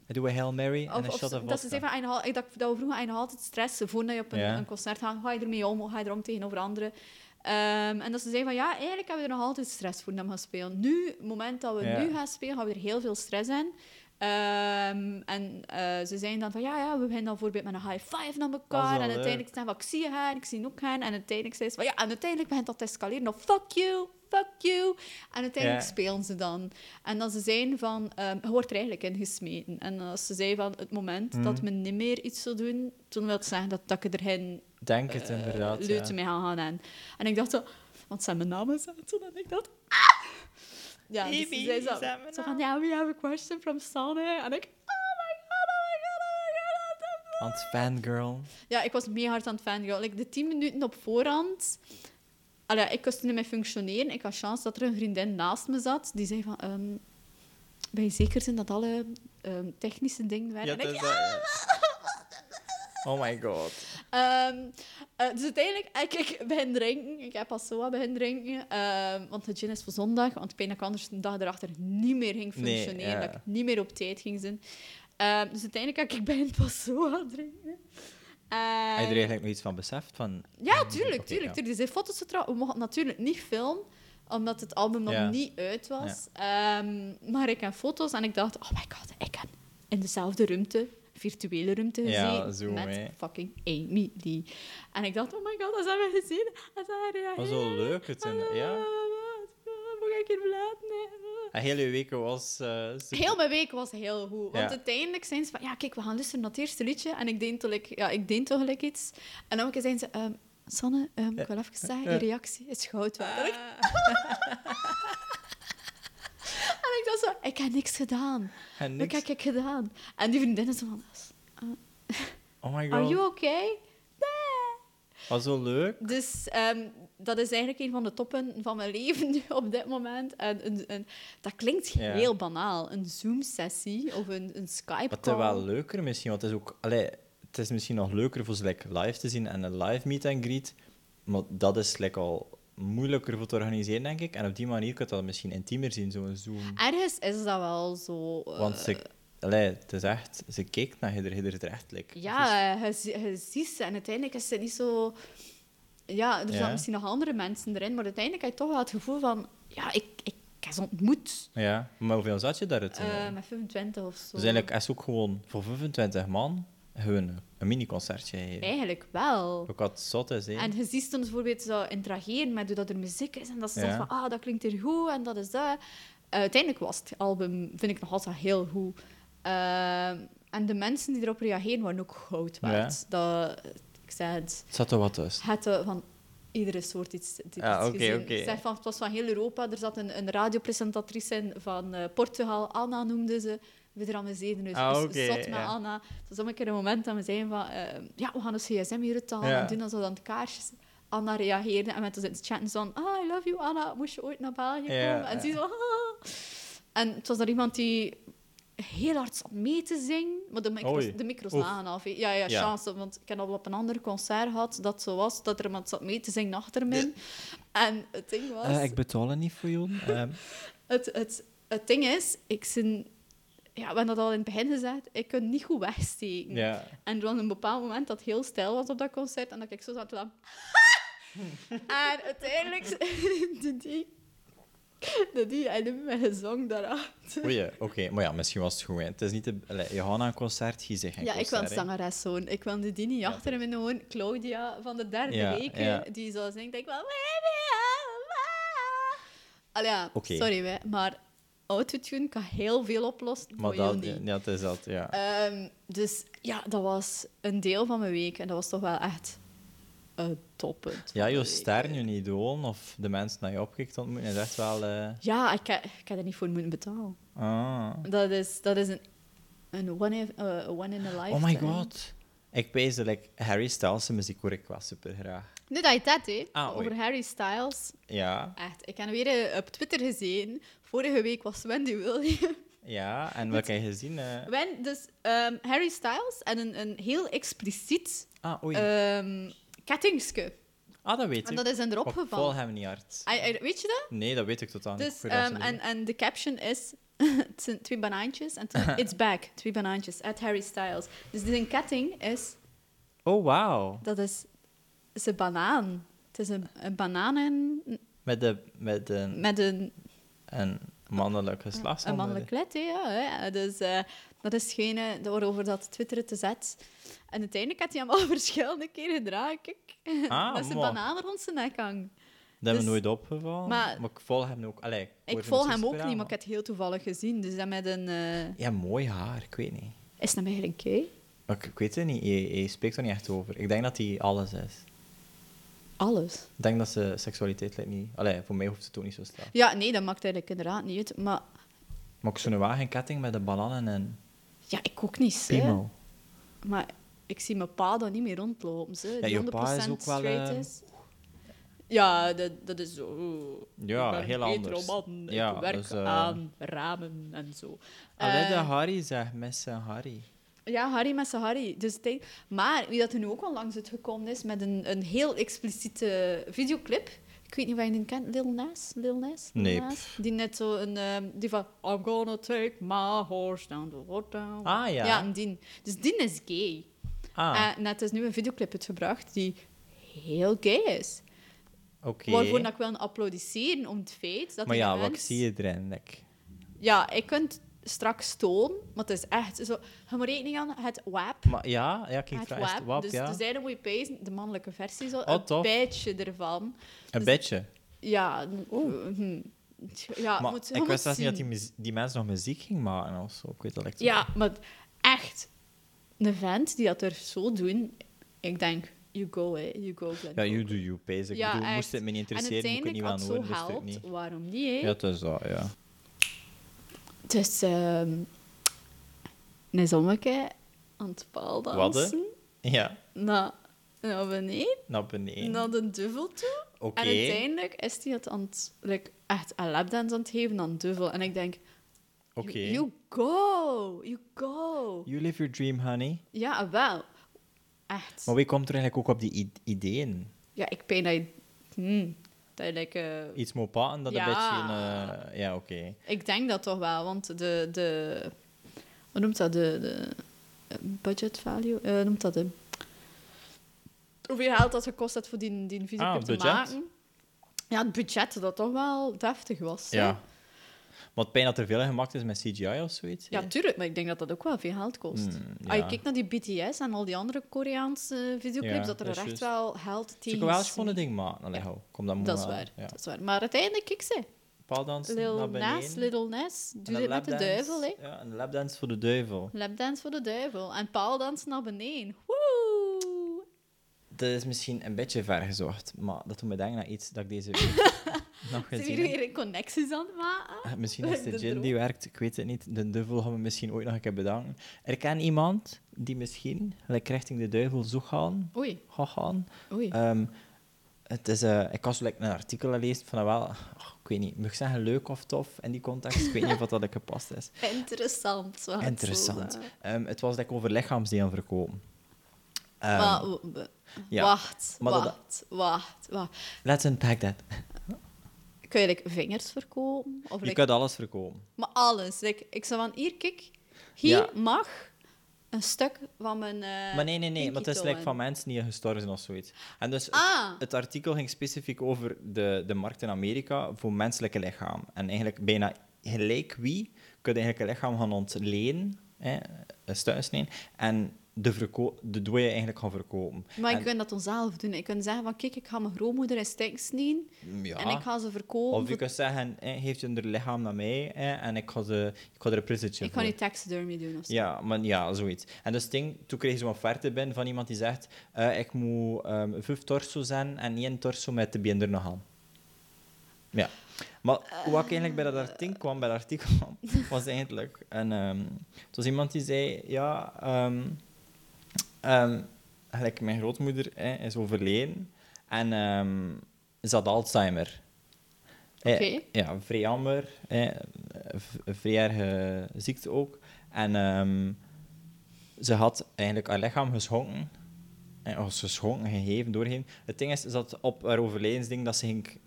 En Doen we Hail Mary en
Of,
een
of
shot
ze- dat
of
ze
vodka?
zeggen, van, "Einhal- ik dacht dat we vroeger eigenlijk altijd stressen voordat je op een,
Ja.
een concert gaat. Hoe ga je ermee om? Hoe ga je erom tegenover anderen? Ehm, en dat ze zeggen van ja, eigenlijk hebben we er nog altijd stress voor gaan spelen. Nu, het moment dat we
Ja.
nu gaan spelen, gaan we er heel veel stress in. Ehm, en eh, ze zeiden dan van ja, ja, we beginnen dan bijvoorbeeld met een high five naar
Dat is
elkaar.
wel
En uiteindelijk
leuk.
staan van ik zie je haar, ik zie ook haar. En uiteindelijk zei ze van ja, en uiteindelijk begint dat te escaleren. Of fuck you, fuck you. En uiteindelijk
Ja.
spelen ze dan. En dat ze zijn van, ehm je wordt er eigenlijk in gesmeten. En als ze zei van het moment
Mhm.
dat men niet meer iets zou doen, toen wil ik zeggen dat, dat ik er geen
Denk het inderdaad.
eh,
ja.
leuten mee gaan gaan. En, en ik dacht zo, want zijn mijn naam is aan toen en ik dacht, ah! Ja, dus
Amy,
ze zei zo,
zijn mijn
zo van, yeah, we have a question from Sanne. En ik, oh my god, oh my god, oh my god. oh my god."
Want fangirl.
Ja, ik was meer hard aan het fangirl. Like, de 10 minuten op voorhand. Allee, ik kon niet meer functioneren. Ik had chance dat er een vriendin naast me zat. Die zei van... ehm ben je zeker zijn dat alle ehm, technische dingen
Ja,
waren? En
het
ik,
is
"Ja."
dat, ja. Oh my god.
Ehm, eh, dus uiteindelijk, ik, ik begin drinken. Ik heb pas zo wat begin drinken. Ehm, want de gin is voor zondag. Want ik ben dat ik anders een dag erachter niet meer ging
Nee,
functioneren.
ja.
Dat ik niet meer op tijd ging zijn. Ehm, dus uiteindelijk heb ik begin pas zo wat drinken.
Heb je
En-
er eigenlijk nog iets van beseft? Van...
Ja, tuurlijk,
Oké,
tuurlijk.
ja.
Er zijn foto's getrouwd. We mochten natuurlijk niet filmen, omdat het album nog
Ja.
niet uit was. Ehm, maar ik heb foto's en ik dacht, oh my god, ik heb in dezelfde ruimte, virtuele ruimte
Ja,
gezien
zo,
met
hè.
fucking Amy Lee. En ik dacht, oh my god, dat hebben we gezien. Dat hebben we
Wat zo leuk het in. Ja.
Moet ik hier blijven? Nee.
En heel je week was... eh, super.
Heel mijn week was heel goed. Want
Ja.
uiteindelijk zijn ze van, ja, kijk, we gaan luisteren naar het eerste liedje. En ik deed toch, ja, ik deed toch gelijk iets. En dan zijn ze, ehm, Sanne, ehm, ik wil even zeggen, je reactie is goud waard. En ik- En ik dacht zo, ik heb niks gedaan.
En
Wat
niks.
heb ik gedaan? En die vriendin is zo van,
Oh my
are
god.
you okay? Nee.
Was zo leuk.
Dus ehm, dat is eigenlijk een van de toppen van mijn leven nu op dit moment. En, een- een- dat klinkt
Ja.
heel banaal. Een Zoom-sessie of een, een Skype-call.
Maar het is wel leuker misschien, want het is ook... Allee, het is misschien nog leuker voor ze like, live te zien en een live meet and greet. Maar dat is like, al moeilijker voor te organiseren, denk ik. En op die manier kun je dat misschien intiemer zien, zo'n Zoom.
Ergens is dat wel zo. eh,
Want ze... Allee, het is echt... Ze kijkt naar ieder, ieder recht. Like.
Ja, eh, je, zie- je ziet ze. En uiteindelijk is het niet zo... Ja, er
Ja.
zaten misschien nog andere mensen erin, maar uiteindelijk heb je toch wel het gevoel van... Ja, ik, ik, ik heb ze ontmoet.
Dus- Ja. Maar hoeveel zat je daar het?
Eh, met 25 of zo.
Dus eigenlijk is het ook gewoon voor 25 man gewoon een mini-concertje hier.
Eigenlijk wel.
Ook wat zot is, hè?
En je ziet soms bijvoorbeeld zo interageren met hoe dat er muziek is. En dat ze
Ja.
zegt van, ah, dat klinkt hier goed en dat is dat. Eh, uiteindelijk was het album, vind ik nog altijd heel goed. Ehm, en de mensen die erop reageren waren ook goud waard. Dat, ik zei het,
Het zat er wat tussen.
het eh, van iedere soort iets, die
Ah,
iets
oké,
gezien.
oké.
Ik Zeg van, het was van heel Europa. Er zat een, een radiopresentatrice in van eh, Portugal. Anna noemde ze. Widramme Zeden, dus
Ah,
dus
oké,
zot met
ja.
Anna. Dus dan een keer een moment dat we zeiden van... eh, ja, we gaan ons gsm hier uithalen
Ja.
en doen alsof we aan het kaarsjes... Anna reageerde en met ons in het chatten zo van... Ah, I love you, Anna. Moest je ooit naar België
Ja,
komen? En
ja.
ze zo... Ah. En het was daar iemand die heel hard zat mee te zingen. Maar de micro's,
Oei.
de micro's
Oef.
lagen af. hè. Ja, ja,
Ja.
chance. Want ik heb al op een ander concert gehad dat zo was, dat er iemand zat mee te zingen achter mij. En het ding was...
Eh, ik betaal het niet voor Ehm, jou.
Het, het, het ding is, ik zin, ja, we hebben dat al in het begin gezegd, ik kon niet goed wegsteken.
ja.
En er was een bepaald moment dat het heel stijl was op dat concert en dat ik zo zat te lachen. en uiteindelijk de die, de die en hem mijn gezang daaruit.
Oei, eh, oké. Maar ja, misschien was het goed. hè. Het is niet... De... Allee, je gaat naar een concert, je zegt geen
Ja, ik wil een
concert, hè.
zangeres zoon. Ik wil de die niet achter hem in de hoorn. Claudia van de derde
Ja,
week,
ja.
die zo zingt, denk ik wel... Allee, ja,
Oké.
sorry, hè, maar autotune kan heel veel oplossen, maar,
Maar
jou
dat...
niet.
Ja, het is dat, ja.
Ehm, dus ja, dat was een deel van mijn week. En dat was toch wel echt een toppunt. van
ja,
mijn
je
week.
ster, je idool of de mensen die je opkikt ontmoeten, is echt wel... eh,
Ja, ik, heb- ik heb er niet voor moeten betalen.
Ah.
Dat is, dat is een, een one, in, eh, one in a lifetime.
Oh my god. Ik weet dat like, Harry Styles' muziek hoor ik wel super graag.
Nu dat je dat, hè,
Ah, oei.
over Harry Styles.
Ja,
Echt, ik heb weer eh, op Twitter gezien. Vorige week was Wendy Williams.
ja. En wat heb je gezien? eh?
Wen, dus ehm, Harry Styles en een, een heel expliciet
Ah, oei.
ehm kettingske.
ah, dat weet
En
ik.
dat is hen erop
Ik Vol
gevallen.
hem niet hard.
Ah, eh, Weet je dat?
Nee, dat weet ik totaal
Dus,
niet.
ehm, en, en de caption is... het zijn twee banaantjes. En toen, it's back. Twee banaantjes. At Harry Styles. Dus die een ketting is...
Oh, wauw.
Dat is... is een banaan. Het is een, een banaan en,
Met, de, met een,
met een,
een mannelijk geslacht.
een mannelijk lid. hè, Ja, hè. Dus eh, dat is geen... Waarover dat twitteren te zet. En uiteindelijk had hij hem al verschillende keren gedragen. Kijk.
Ah,
dat zijn
man.
banaan rond zijn nek hangt.
Dat hebben
Dus-
we nooit opgevallen.
maar-
Maar, ik volg hem dus ook. Allee, hoor
Ik
ze
volg
misschien
hem ook
spelen,
niet, maar ik heb het heel toevallig gezien. Dus dat met een... eh,
Ja, mooi haar. Ik weet niet.
is dat eigenlijk een gay?
Maar ik, ik weet het niet. Je, je spreekt er niet echt over. Ik denk dat hij alles is.
Alles.
Ik denk dat ze seksualiteit lijkt niet... Allee, voor mij hoeft het ook niet zo straf.
Ja, nee, dat maakt eigenlijk inderdaad niet uit. Maar
Maar ik zo'n wagenketting met een bananen en
ja, ik ook niet. hè.
piemel.
Maar ik zie mijn pa dan niet meer rondlopen. Ze, die
je
100%
pa is ook wel,
straight
eh,
is. Ja, dat, dat is zo.
Ja,
ik ben
heel
een
anders.
heteroman. ik
Ja,
werk
dus, eh,
aan ramen en zo.
Allee,
Eh,
de Harry zegt, met zijn Harry.
ja, Harry met zijn Harry. Dus het- maar wie dat er nu ook al langs uitgekomen is met een, een heel expliciete videoclip. Ik weet niet of je die kent, Lil Nas? Lil Nas? Lil
Nee,
Nas?
pff.
Die net zo een... ehm, die van... I'm gonna take my horse down the water.
Ah, ja.
Ja, die. Dus die is gay.
Ah,
Eh, En net is nu een videoclip uitgebracht die heel gay is.
oké.
Waarvoor dat ik wil applaudisseren om het feit dat
Maar
die
ja,
mens-
wat zie je erin? Like?
Ja, ik kan het straks tonen, maar het is echt zo... Je moet rekening aan het WAP.
Maar ja, ja ik ging
Het
vragen, is
WAP,
het wap,
dus
ja. Ah,
de zijde moet je pezen, de mannelijke versie, zo,
Oh,
een
tof.
beetje ervan.
Een beetje.
Ja, n- hm. Ja,
maar
moet, je
ik
moet
wist zelfs niet dat
zien.
die, muzie- die mensen nog muziek ging maken of zo. Ik weet dat ik zo-
Ja, maar echt, een vent die dat er zo doen, ik denk, you go, hè. You go, Glenn.
Ja, you do you, pees. Ik
Ja,
bedoel,
echt.
moest het me niet
en
interesseren, moest ik het
uiteindelijk, als
niet
het
aan
zo
horen, wist ik
haalt,
niet.
waarom niet, hè?
Ja, het is dat, ja.
Dus, ehm een zommeke aan het paal
Wat, hè?
dansen.
Ja,
Na, naar beneden,
naar beneden.
naar de duvel toe.
Oké.
En uiteindelijk is hij het aan het, like, echt een lapdance aan het geven aan duvel. En ik denk,
Oké.
you, you go, you go.
You live your dream, honey.
Ja, wel. Echt.
Maar wie komt er eigenlijk ook op die i- ideeën?
Ja, ik pijn dat je... hmm, dat je like, eh,
Iets moet paten dat
Ja.
een beetje... Een, eh, ja, oké.
ik denk dat toch wel, want de... de hoe noemt dat? De, de eh, budget value? Eh, hoe noemt dat de... Hoeveel geld dat gekost had voor die, die videoclip
Ah,
te
budget.
maken? Ja, het budget dat toch wel deftig was. hè?
Ja. Maar het pijn dat er veel aan gemaakt is met CGI of zoiets.
Ja,
hè?
tuurlijk, maar ik denk dat dat ook wel veel geld kost.
Hmm,
Als je
ja.
kijkt naar die BTS en al die andere Koreaanse eh, videoclips,
Ja,
dat er
dat is
echt
juist.
wel geld
Ze
tegen...
kunnen wel
is.
eens gewoon een ding maken. Allee,
Ja.
hou, Kom, dat moet
Dat is
wel.
waar,
Ja.
dat is waar. Maar uiteindelijk, kijk ze.
Paaldansen
Lil
naar beneden.
Nas, Little Nas,
En
doet
een
het met de
lapdance.
duivel, hè.
Ja, een lapdance voor de duivel.
Lapdance voor de duivel. En paaldans naar beneden. Woe!
Dat is misschien een beetje ver gezocht, maar dat doet me denken aan iets dat ik deze week
Zijn
nog gezien
jullie
heb.
weer connecties aan het maken?
Eh, Misschien is
De
de gin
droom.
die werkt, ik weet het niet. De duivel gaan we misschien ooit nog een keer bedanken. Er kan iemand die misschien gelijk richting de duivel zo gaan.
Oei,
gaat gaan.
oei.
Ehm, het is, eh, ik was like, een artikel gelezen van wel, ah, ik weet niet, moet ik zeggen leuk of tof in die context? Ik weet niet of dat gepast is.
Interessant. we gaan het zo
Interessant.
zeggen.
Ehm, het was like, over lichaamsdelen verkopen. Ehm,
Maar, w- w-
ja.
Wacht,
Maar dat-
wacht, wacht, wacht.
Let's unpack that.
Kun je like, vingers verkopen? Of,
Je
like,
kunt alles verkopen.
Maar alles. Like, ik zou van, hier, kijk. Hier
Ja.
mag een stuk van mijn eh,
Maar nee, nee, nee.
pinky
Maar het is
toe
like
in.
van mensen die gestorven zijn of zoiets. En dus het,
Ah.
het artikel ging specifiek over de, de markt in Amerika voor menselijke lichaam. En eigenlijk bijna gelijk wie kun je eigenlijk een lichaam gaan ontlenen, hè, stuisneen, en de, verko- de dooie eigenlijk gaan verkopen.
Maar
en,
ik kan dat dan zelf doen. Ik kan zeggen van, kijk, ik ga mijn grootmoeder in stank snijden.
Mm, Ja.
En ik ga ze verkopen.
Of je
voor-
kunt zeggen, hè, geef je hun lichaam naar mij hè, en ik ga, ze, ik ga er een prijsje
Ik
voor.
ga niet taxidermy doen of zo.
Ja, maar ja, zoiets. En dus het ding, toen kreeg je zo'n offerte binnen van iemand die zegt: eh, Ik moet ehm, vijf torso zijn en één torso met de been er nog aan. Ja. Maar hoe ik eigenlijk bij dat artikel kwam, bij dat artikel kwam, was eigenlijk. En, ehm, het was iemand die zei: Ja, ehm, ehm, gelijk mijn grootmoeder hè, is overleden en ehm, ze had Alzheimer. Eh,
Oké.
ja, vrij jammer. Hè, v- vrij erge ziekte ook. En ehm, ze had eigenlijk haar lichaam geschonken. En als ze schonken, gegeven, doorgegeven. Het ding is, is dat op haar overledensding, dat ze ging,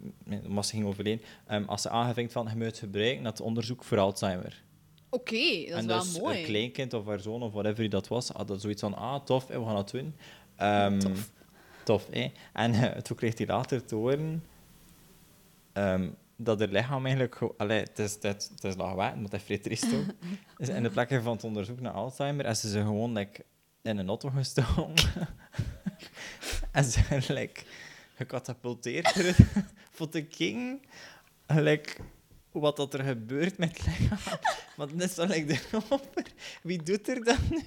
omdat ze ging overleden, ehm, als ze aangevinkt van, je moet het gebruiken, dat onderzoek voor Alzheimer.
Oké, dat is
en
wel
dus
mooi.
haar kleinkind of haar zoon of whatever die dat was, had dat zoiets van, ah, tof, hè, we gaan dat doen. Ehm,
Tof.
Tof, hè. En eh, toen kreeg hij later te horen ehm, dat haar lichaam eigenlijk... gewoon- Allee, het is, het, het is lachwekkend, maar het is vrij triest ook. Dus in de plekken van het onderzoek naar Alzheimer is ze ze gewoon like, in een auto gestoken. en ze zijn like, gecatapulteerd eruit voor de king. Like, wat dat er gebeurt met het lichaam. Want net zo like, de over. Wie doet er dan nu?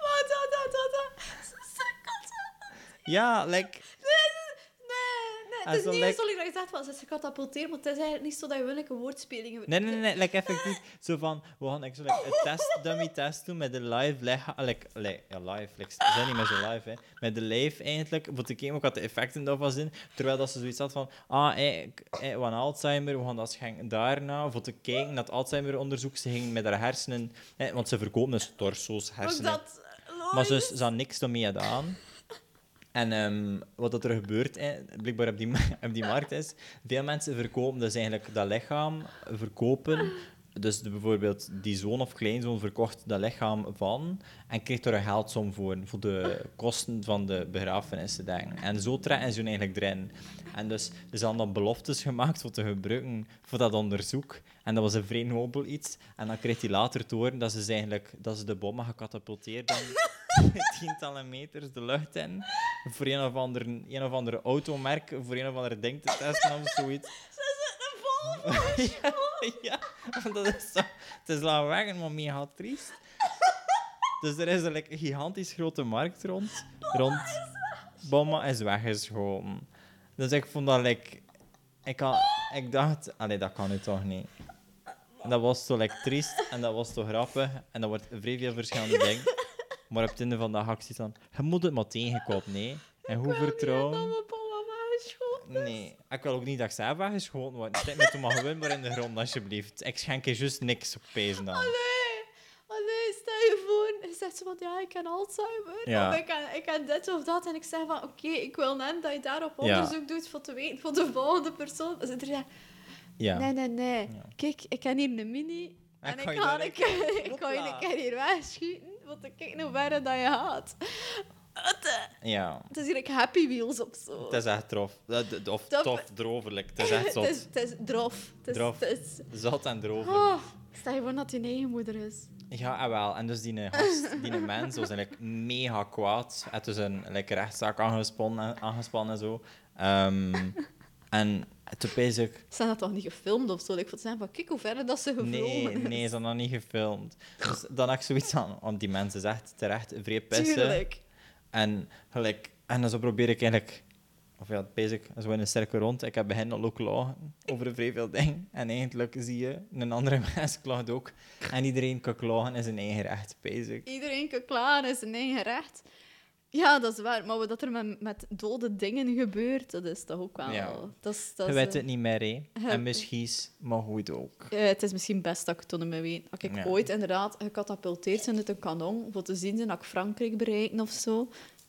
Wat, dat, dat, dat, dat. Ze sukkelt zo.
Ja, like...
Nee, ze- nee, nee.
Ah,
Het is
zo
niet
lek-
zo dat ik dacht, ze katapulteert, maar het is eigenlijk niet zo dat je wel een woordspeling...
Nee, nee, nee, nee, like effectief. Zo van, we gaan ik zo like, een test, dummy test doen met de live lichaam. Like, li- ja, live, like, ze zijn niet meer zo live, hè. Met de live eigenlijk, want ik ook had de effecten daarvan zien. Terwijl dat ze zoiets had van, ah, eh, ik- eh, we gaan Alzheimer, we gaan dat schenken daarna. Voor te kijken dat Alzheimer-onderzoek, ze gingen met haar hersenen, hè, want ze verkopen dus torso's,
Ook
hersenen.
dat... logisch.
Maar ze, ze had niks ermee gedaan. En ehm, wat dat er gebeurt, eh, blijkbaar op die, ma- op die markt is, veel mensen verkopen dus eigenlijk dat lichaam, verkopen. Dus de- bijvoorbeeld die zoon of kleinzoon verkocht dat lichaam van en kreeg er een geldsom voor, voor de kosten van de begrafenis te denken. En zo trekken ze hun eigenlijk erin. En dus er zijn dan beloftes gemaakt voor te gebruiken voor dat onderzoek. En dat was een vrij nobel iets. En dan kreeg hij later te horen dat ze, ze eigenlijk, dat ze de bommen gecatapulteerd hebben tientallen meters de lucht in voor een of ander, een of ander automerk, voor een of ander ding te testen of zoiets.
Ze zit een
ja, want dat is zo. Het is lawaaiig, maar mega triest. Dus er is like, een gigantisch grote markt rond. rond Bomma is weggeschoten. Dus ik vond dat... Like, ik, had, ik dacht, allee, dat kan nu toch niet. En dat was zo like, triest en dat was zo grappig. En dat wordt vrij veel verschillende dingen. Maar op het einde van de actie dan... Je moet het maar tegenkomen, nee. En hoe vertrouwen... Nee, ik wil ook niet dat ik zelf weggeschoten word. Stek me toen maar gewoon maar in de grond, alsjeblieft. Ik schenk je juist niks op pezen dan.
Allee, allee, stel je voor. Hij zegt zo van, ja, ik ken Alzheimer.
Ja.
Of ik ken, ik ken dit of dat. En ik zeg van, oké, ik wil net dat je daarop
Ja.
onderzoek doet voor te weten, voor de volgende persoon. Dan zit er, ja,
Ja.
nee, nee, nee.
Ja.
Kijk, ik ken hier een mini. En ik
ga je
ga
daar
een keer- ik ga
Hopla.
je een keer hier wegschieten. Want ik kijk hoe ver dat je gaat. Wat, eh,
Ja.
Het is hier like Happy Wheels of zo.
Het is echt trof. Eh, d- d- Of
Dat-
tof, droverlijk. Het is echt
Het is,
zot.
het is drof. Het is,
Drof.
Het is,
Zot en drover.
oh, stel je voor dat je eigen moeder is.
Ja, en wel. En dus die eh, gast, die mens, was eigenlijk mega kwaad. Hij had dus een like, rechtszaak aangespannen, aangespannen en zo. Ehm, en toen pees ik...
Ze hebben dat toch niet gefilmd of zo? Ik vond zijn van, kijk hoe ver dat ze gefilmd
Nee, nee, ze hadden dat niet gefilmd. Dus dan had ik zoiets aan, want die mensen zegt terecht vrij pissen.
Tuurlijk.
En, gelijk, en dan zo probeer ik eigenlijk, of ja, basic, zo in een cirkel rond. Ik heb bij hen al ook klagen over vrij veel dingen. En eigenlijk zie je, een andere mens klaagt ook. En iedereen kan klagen in zijn eigen recht, basic.
Iedereen kan klaar is zijn eigen recht. Ja, dat is waar. Maar wat er met, met dode dingen gebeurt, dat is toch ook wel...
Ja.
Dat is, dat
Je
is,
weet
eh,
het niet meer, hè.
je-
En misschien, maar goed ook.
eh, het is misschien best dat ik het toen niet meer weet. Als ik
Ja.
ooit inderdaad gecatapulteerd ben uit een kanon, voor te zien zijn dat ik Frankrijk bereiken of zo,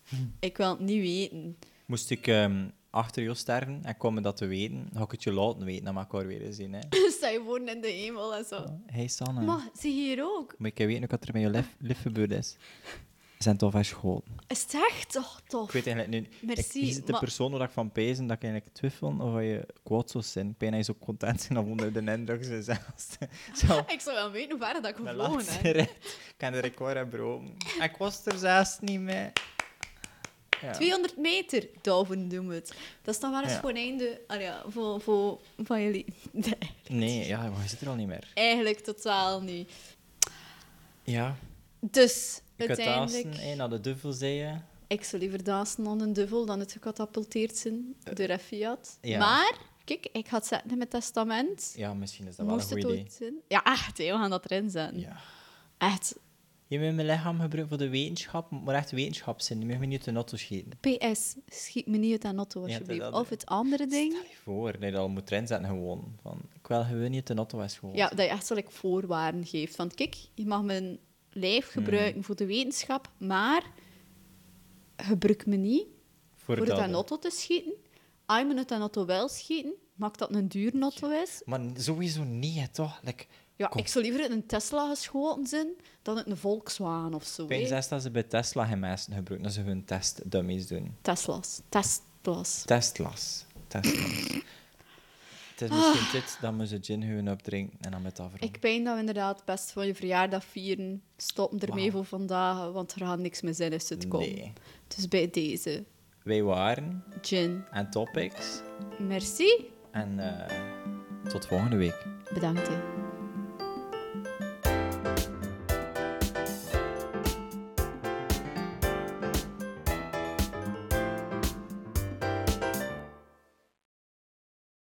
Hm.
ik wil het niet weten.
Moest ik ehm, achter jou sterven en kwam me dat te weten, had ik het je laten weten, dan mag ik haar weer eens zien, hè.
Zij wonen in de hemel en zo.
Hey, Sanne.
Maar, zie je hier ook?
Moet ik weten ook wat er met je lef, lef gebeurd is? Zijn tof en school.
Is het echt? Oh, tof.
Ik weet eigenlijk nu.
Merci,
ik, is het de
maar-
persoon waar ik van pezen dat ik eigenlijk twijfel of je kwaad zou zijn? Ik ben je zo content zijn of onder de indruk zijn zelfs. Zo,
Ah, Ik zou wel weten hoe ver dat ik
mijn
gevlogen
laatste
heb.
rit. Ik kan de record hebben broken. Ik was er zelfs niet mee. Ja.
200 meter, Dauven doen we het. Dat is dan wel eens
Ja.
gewoon einde ah ja, voor, voor, van jullie. Nee,
Nee, ja, maar je zit er al niet meer.
eigenlijk totaal niet.
Ja.
Dus
Je kunt dansen,
uiteindelijk,
hè, naar de duvel zeeën.
ik zou liever dansen aan een duvel dan het gecatapulteerd zijn door een Fiat.
Eh, ja.
Maar, kijk, ik ga het zetten in mijn testament.
Ja, misschien is dat wel een
Moest
goed
het
idee.
ooit zijn. Ja, echt, hè, we gaan dat erin zetten.
Ja.
Echt.
Je moet mijn lichaam gebruiken voor de wetenschap, maar echt wetenschap zijn. Je mag me niet uit de notto schieten.
PS, schiet me niet uit aan auto,
Ja,
alsjeblieft.
dat-
of het andere ding.
Stel je voor, dat je dat al moet erin zetten gewoon. Van, ik wil gewoon niet uit de notto is gewoon.
Ja, dat je echt zo like, voorwaarden geeft. Van kijk, je mag mijn lijf
Hmm.
gebruiken voor de wetenschap, maar gebruik me niet
Voor,
voor het
dat-
aan auto te schieten. Als je me het aan auto wel schieten, maakt dat het een duur auto is.
Maar sowieso niet, hè, toch? Like,
Ja,
kom,
ik zou liever uit een Tesla geschoten zijn dan uit een Volkswagen of zo.
ik weet
hè.
zelfs dat ze bij Tesla geen mensen gebruiken, dat ze hun testdummies doen.
Teslas. Teslas.
Testlas. Testlas. Het is misschien dit dat we ze gin gewoon opdrinken en dan met dat
Ah. Ik pijn dat we inderdaad best voor je verjaardag vieren. Stop ermee
Wauw.
voor vandaag, want er gaat niks meer zijn als het komt.
Nee.
Dus bij deze,
Wij waren
Jin,
en topics.
merci.
En eh, tot volgende week.
Bedankt. hè.